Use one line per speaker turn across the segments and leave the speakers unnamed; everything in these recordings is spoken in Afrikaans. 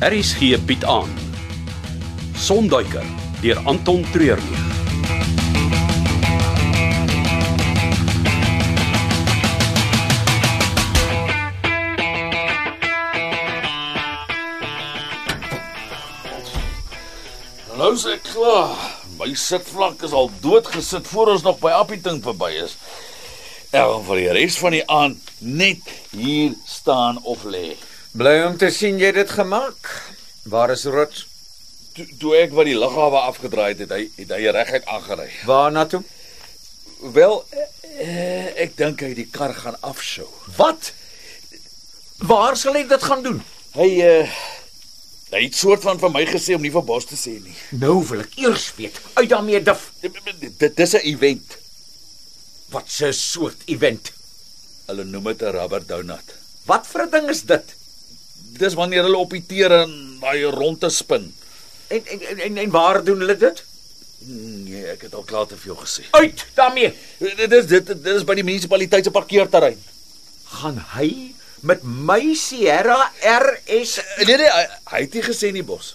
Aries gee bied aan. Sonduiker deur Anton Treurnig.
Nou is ek klaar. My sitvlak is al doodgesit voor ons nog by Appieting verby is. En vir die res van die aand net hier staan of lê.
Bly om te sien jy het dit gemaak. Waar is Rots?
Toe, toe ek wat die lughawe afgedraai het, het hy het hy er reguit aangery.
Waarna toe?
Wel, eh, ek dink hy het die kar gaan afsou.
Wat? Waar sal ek dit gaan doen?
Hy eh hy het soort van vir my gesê om nie vir Bos te sê nie.
Nou wil ek eers weet. Uit daarmee dif.
Dit- Dit dis 'n event.
Wat 'n soort event.
Hulle noem dit 'n rubber donut.
Wat vir 'n ding is dit?
Dis wanneer hulle op die teer en daai ronde spin.
En en en- en, en waar doen hulle dit?
Nee, ek het al klaar te veel gesê.
Uit daarmee.
Dit is dit dit is by die munisipaliteit se parkeerterrein. Eh,
Gaan hy met my Sierra RS
Nee nee, hy, hy het nie gesê nie, Bos.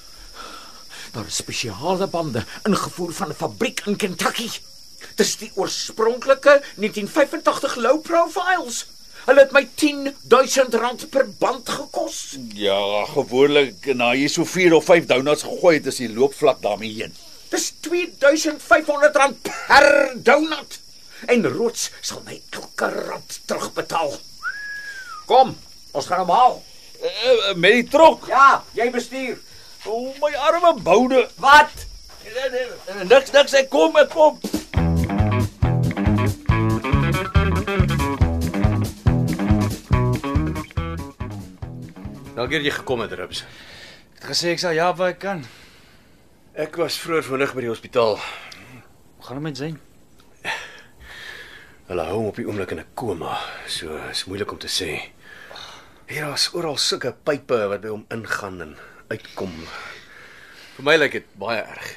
daar is spesiale bande ingevoer van 'n fabriek in Kentucky. Dis die oorspronklike 1985 low profiles. Hulle het my 10000 rand per band gekos.
Ja, gewoonlik na jy so 4 of 5 donuts gegooi het, is die loopvlak daarmee heen.
Dis R2500 per donut. En Roots sal my elke rand terugbetaal. Kom, ons gaan hom haal.
Uh, met die trok.
Ja, jy bestuur.
O, oh, my arme boude.
Wat?
Nee, nee, nee, Niks niks, ek kom, ek kom.
Dankie dat jy gekom het, Rubs.
Het gesê ek sal ja waar ek kan.
Ek was vroeër vanmiddag by die hospitaal.
Hoe gaan dit met Zayn?
Hulle hou hom op die oomblik in 'n koma, so is moeilik om te sê. Hier is oral sulke pype wat by hom ingaan en uitkom. Vir my lyk dit baie erg.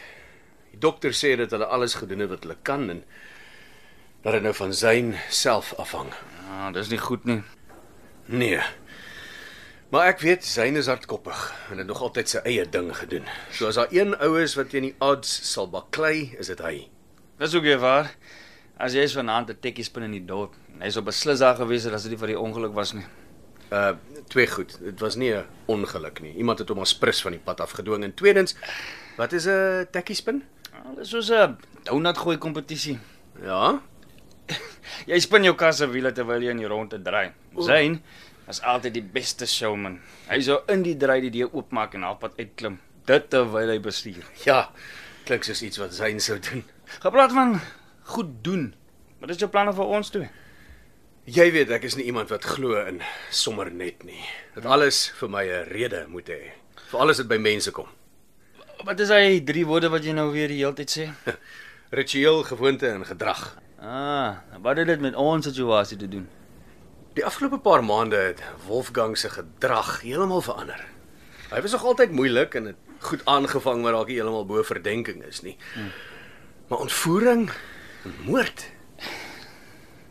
Die dokter sê dat hulle alles gedoen het wat hulle kan en dat dit nou van Zayn self afhang.
Ja, dis nie goed nie.
Nee. Maar ek weet Zayn is hardkoppig en het nog altyd sy eie ding gedoen. So as daar een ou is wat teen die odds sal baklei, is dit hy.
Dis ook weer waar. As jy's vanaand 'n tekkie spin in die dorp, en hy sou beslis daar gewees het as dit nie vir die ongeluk was nie.
Uh twee goed. Dit was nie 'n ongeluk nie. Iemand het hom as prins van die pad afgedwing en tweedens wat is 'n tekkie spin?
Ja, dis soos 'n donut gooi kompetisie.
Ja.
Jy spin jou kasse wiele terwyl jy in die ronde draai. Zayn is altyd die beste showman. Hy sou in die draai die deur oopmaak en halfpad uitklim, dit terwyl hy bestuur.
Ja. Klink soos iets wat Zayn sou doen.
Gepraat van goed doen. Wat is jou planne vir ons toe?
Jy weet ek is nie iemand wat glo in sommer net nie. Dat alles vir my 'n rede moet hê. Vir alles wat by mense kom.
Wat is hy drie woorde wat jy nou weer die hele tyd sê?
Ritueel, gewoonte en gedrag.
Ah, wat het dit met ons situasie te doen?
Die afgelope paar maande het Wolfgang se gedrag heeltemal verander. Hy was nog altyd moeilik en het goed aangevang maar dalk nie heeltemal bo verdenking is nie. Maar ontvoering en moord.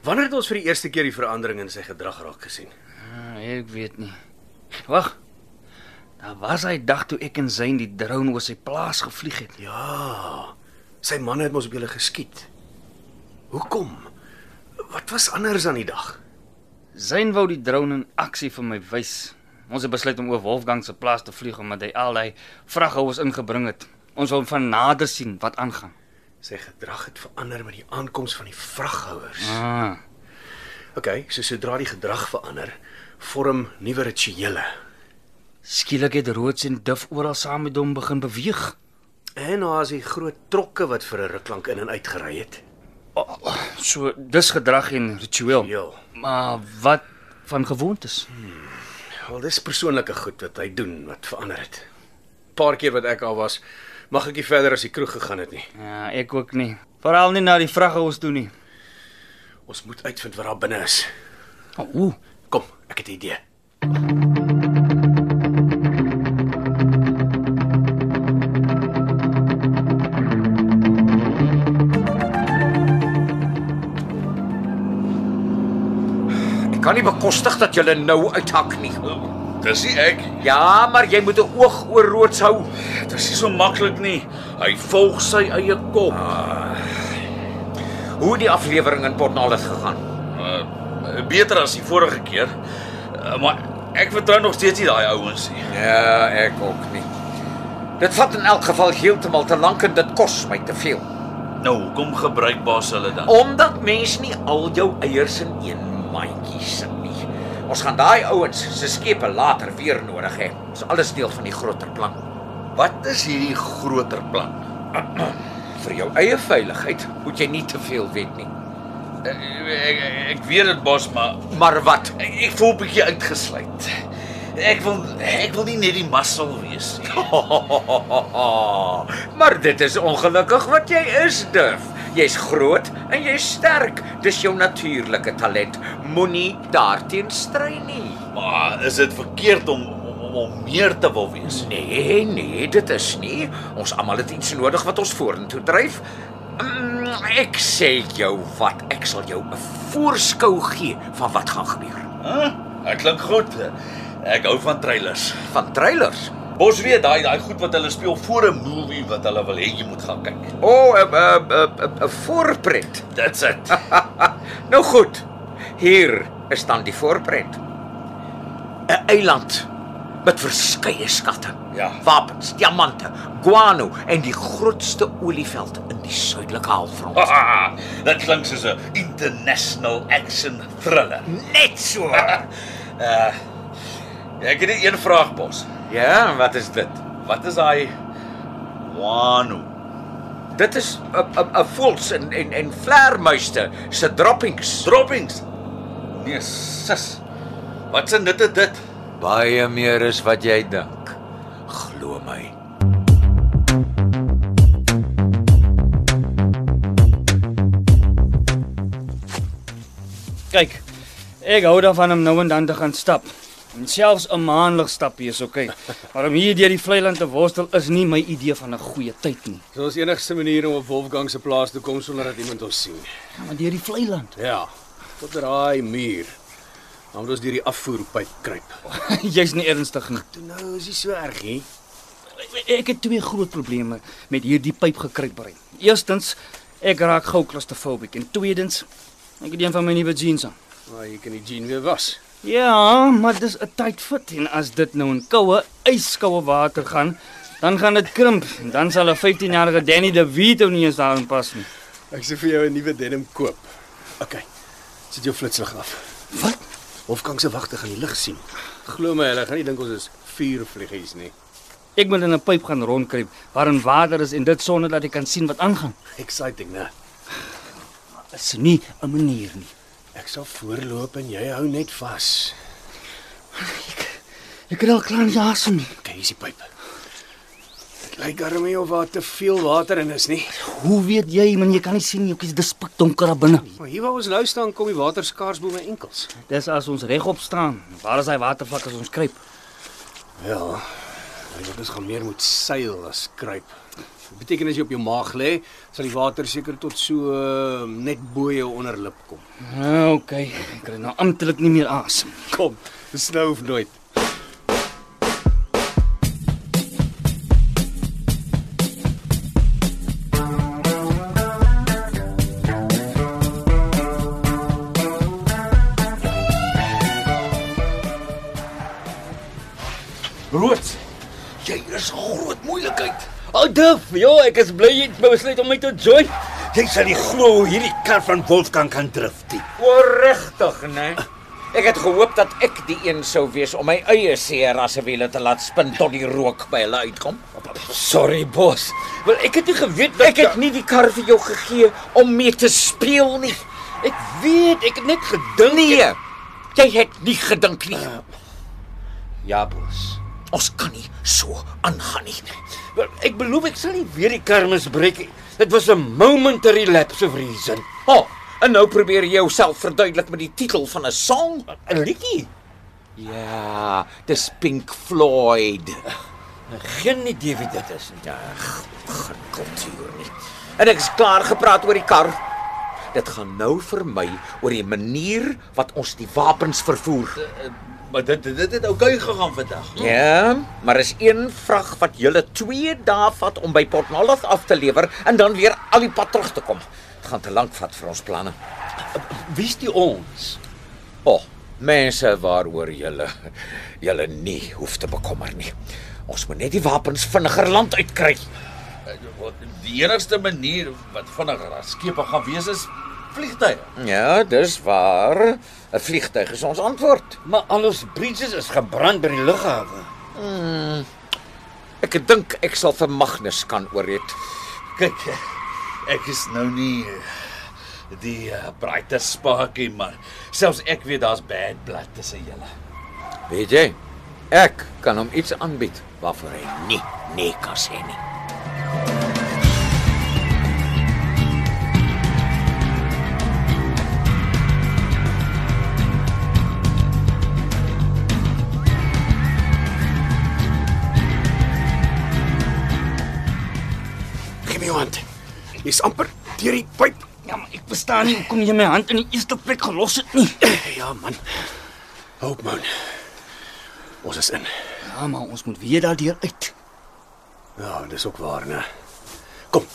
Wanneer het ons vir die eerste keer die verandering in sy gedrag raak gesien?
Ah, ek weet nie. Wag. Daar was hy dag toe ek en Zayn die drone oor sy plaas gevlieg het.
Ja. Sy man het mos op julle geskiet. Hoekom? Wat was anders aan die dag?
Zayn wou die drone in aksie vir my wys. Ons het besluit om oor Wolfgang se plaas te vlieg omdat hy al hy vraghouers ingebring het. Ons wil hom van nader sien wat aangaan.
Sy gedrag het verander met die aankoms van die vraghouers.
Ah,
OK, so sodra die gedrag verander, vorm nuwe rituele.
skielik het Roots en Duf oral saam met hom begin beweeg.
En daar is die groot trokke wat vir 'n ruklank in en uit gery het.
So dis gedrag en ritueel.
Ja,
Maar wat van gewoontes?
wel dis persoonlike goed wat hy doen wat verander het. Paar keer wat ek al was, mag ek nie verder as die kroeg gegaan het nie.
Ja, ek ook nie. Veral nie na die vraghouers toe nie.
Ons moet uitvind wat daar binne is.
Ooh.
Kom, ek het 'n idee. Oh.
Ek kan nie bekostig dat jy nou uithak nie.
Dis nie ek.
Ja, maar jy moet 'n oog oor roods hou.
Dit is nie so maklik nie. Hy volg sy eie kop.
Hoe het die aflewering in Port Nolloth gegaan?
Uh, beter as die vorige keer. Uh, maar ek vertrou nog steeds nie daai ouens nie.
Ja, ek ook nie. Dit vat in elk geval heeltemal te lank en dit kos my te veel.
Nou, hoekom gebruik baas hulle dan?
Omdat mens nie al jou eiers in een mandjie sit nie. Ons gaan daai ouens se skepe later weer nodig hê. Dis alles deel van die groter plan
Wat is hierdie groter plan?
vir jou eie veiligheid. Moet jy nie te veel weet nie.
Ek ek, ek weet dit bos, maar
Maar wat?
ek, ek voel bietjie uitgesluit. Ek wil ek wil nie net die muscle wees nie.
maar dit is ongelukkig wat jy is, Durf. Jy's groot en jy's sterk. Dis jou natuurlike talent. Moenie daarteen stry nie.
Maar is dit verkeerd om om, om- om meer te wil wees?
Nee, nee, dit is nie. Ons almal het iets nodig wat ons vorentoe dryf. Mm, Ek sê jou wat, ek sal jou 'n voorskou gee van wat gaan gebeur.
Hæ? Dit klink goed. Ek hou van trailers.
Van trailers.
Bos weet daai daai goed wat hulle speel voor 'n movie wat hulle wil hê jy moet gaan kyk.
O, oh, 'n 'n 'n 'n voorpret.
Dit's dit.
Nou goed. Hier is dan die voorpret. 'n Eiland met verskeie skatte.
Ja.
Wapens, diamante, guano en die grootste olieveld in die suidelike halfrond.
Ah, dit klink soos 'n international action thriller.
Net so.
Uh ek het net een vraag, Bos.
ja, wat is dit?
Wat is daai Wano?
Dit is 'n 'n 'n voels en en en vleermuiste se droppings.
Droppings. Nee, sis. Wat sin dit is dit?
Baie meer is wat jy dink. Glo my.
Kyk. Ek hou daarvan om nou en dan te gaan stap. En selfs 'n maandelik stapie is oukei. Okay. Maar om hier deur die vlei land te worstel is nie my idee van 'n goeie tyd nie.
Dis ons enigste manier om op Wolfgang se plaas te kom sonder dat iemand ons sien.
Gaan maar deur die vlei land.
Ja, tot daai muur. Dan moet ons deur die afvoerpyp kruip.
Jy's nie ernstig nie.
Toe nou is dit so erg hè.
Ek het twee groot probleme met hierdie pyp gekruipbrein. Eerstens, ek raak gou klaustrofobiek en tweedens, ek het een van my nuwe jeans aan.
Maar jy kan die jean weer was.
Ja, maar dis 'n tight fit en as dit nou in koue, yskoue water gaan, dan gaan dit krimp en dan sal 'n 15-jarige Danny DeVito nie eens daarin pas nie.
Ek sê vir jou 'n nuwe denim koop. OK. Sit jou flitslig af.
Wat?
Wolfgang se wagte gaan die lig sien. Glo my, hulle gaan nie dink ons is vuurvliegies nie.
Ek moet in 'n pyp gaan rondkruip waarin water is en dit sonder dat ek kan sien wat aangaan.
Exciting, né?
Dis nie 'n manier nie.
Ek sal voorloop en jy hou net vas.
Ek kry al klaar nie asem nie.
Kyk, hier's die pyp. Dit lyk darmie of daar te veel water in is nie.
Hoe weet jy, man, jy kan nie sien nie, jy's dis pikdonker daar binne.
Maar hier waar ons nou staan, kom die water skaars bo my enkels.
Dis as ons regop staan. Waar is hy watervlak as ons kruip?
Wel, jy moet ons gaan meer moet seil as kruip. Dit beteken as jy op jou maag lê, sal die water seker tot so eh, net bo jou onderlip kom.
Nou, okay, ek kry nou amptelik nie meer asem.
Kom, dis nou of nooit.
Rood. Jy is 'n groot moeilikheid.
O, oh, Duf, ja, ek is bly jy het besluit om my te join.
Jy sal nie glo hoe hierdie kar van Wolfgang kan drif nie.
Oorregtig, né? Ek het gehoop dat ek die een sou wees om my eie Sierra se wiele te laat spin tot die rook by hulle uitkom.
Sorry, bos. Wel, ek het nie geweet dat
Ek het nie die kar vir jou gegee om mee te speel nie.
ek weet, ek het net gedink
Nee. Jy het nie gedink nie.
Ja, bos.
Ons kan nie so aangaan nie.
Wel, ek beloof ek sal nie weer die kar misbreek nie. Dit was 'n momentary lapse of reason.
O, oh, en nou probeer jy jouself verduidelik met die titel van 'n song, 'n liedjie. Ja, dis Pink Floyd.
Geen idee wie dit is nie.
Ja, geen kultuur nie. En ek is klaar gepraat oor die kar. Dit gaan nou vir my oor die manier wat ons die wapens vervoer.
maar dit dit dit het oukei gegaan vandag.
Ja, maar is een vrag wat julle 2 dae vat om by Port Nolloth af te lewer en dan weer al die pad terug te kom. Dit gaan te lank vat vir ons planne.
Wie's die ons?
O, oh, mense waaroor julle julle nie hoef te bekommer nie. Ons moet net die wapens vinniger land uitkry.
Die enigste manier wat vinniger as skepe gaan wees is vliegtye.
Ja, dis waar. 'n Vliegtyg is ons antwoord.
Maar al ons bridges is gebrand by die lughawe.
Hmm. Ek dink ek sal vir Magnus kan ooreet.
Kyk, ek is nou nie eh, die uh, brightest sparkie maar selfs ek weet daar's bad blood tussen julle.
Weet jy? Ek kan hom iets aanbied waarvoor hy nie nee kan sê nie.
Gee my jou hand. Jy's amper deur die pyp.
Ja, maar ek verstaan nie hoekom jy my hand in die eerste plek gelos het nie.
Ja man. Hoop man. Ons is in.
Ja, maar ons moet weer daardeur uit.
Ja, dis ook waar, né? Kom.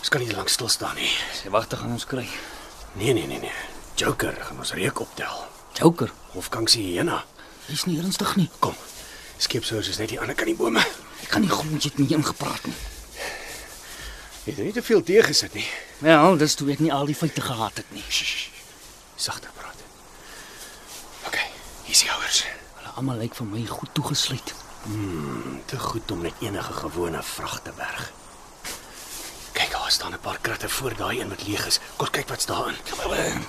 Ons kan nie lank stil staan nie.
Sy wagte gaan ons kry.
Nee, nee, nee, nee. Joker gaan ons reuk optel.
Joker,
Hofgang se hyena.
dis nie ernstig nie.
Kom. Skepsous is net die ander kan die bome.
Ek kan nie glo jy het nie ingepraat nie.
Het jy nie te veel teë gesit nie.
Wel, dis toe ek nie al die feite gehad het nie.
Sagter praat. OK, hier's die ouers.
Hulle almal lyk vir my goed toegesluit.
Te goed om net enige gewone vrag te berg. Kyk, daar staan 'n paar kratte voor daai een wat leeg is. Kom kyk wat's daarin.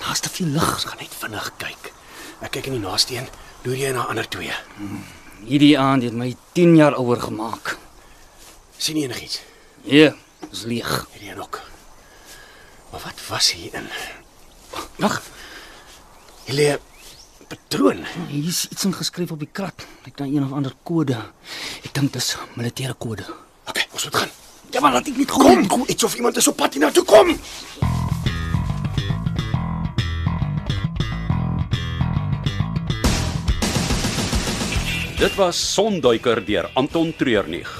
Daar's te veel lig.
Ons gaan net vinnig kyk. Ek kyk in die naaste een, loer jy na ander twee.
Hierdie aand het my 10 jaar ouer gemaak.
sien jy enigiets?
Nee, dis leeg.
Hierdie een ook. Maar wat was hierin?
Wag,
Hier lê 'n patroon.
hier is iets ingeskryf op die krat. Lyk na een of ander kode. Ek dink dis militêre kode.
OK, ons moet gaan.
Ja, maar laat ek net gou.
Kom, kom, iets of iemand is op pad hiernatoe kom.
Dit was Sonduiker deur Anton Treurnig.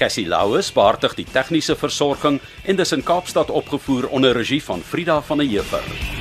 Cassie Louws beheerdig die tegniese versorging en dis in Kaapstad opgevoer onder regie van Frida van der Heever.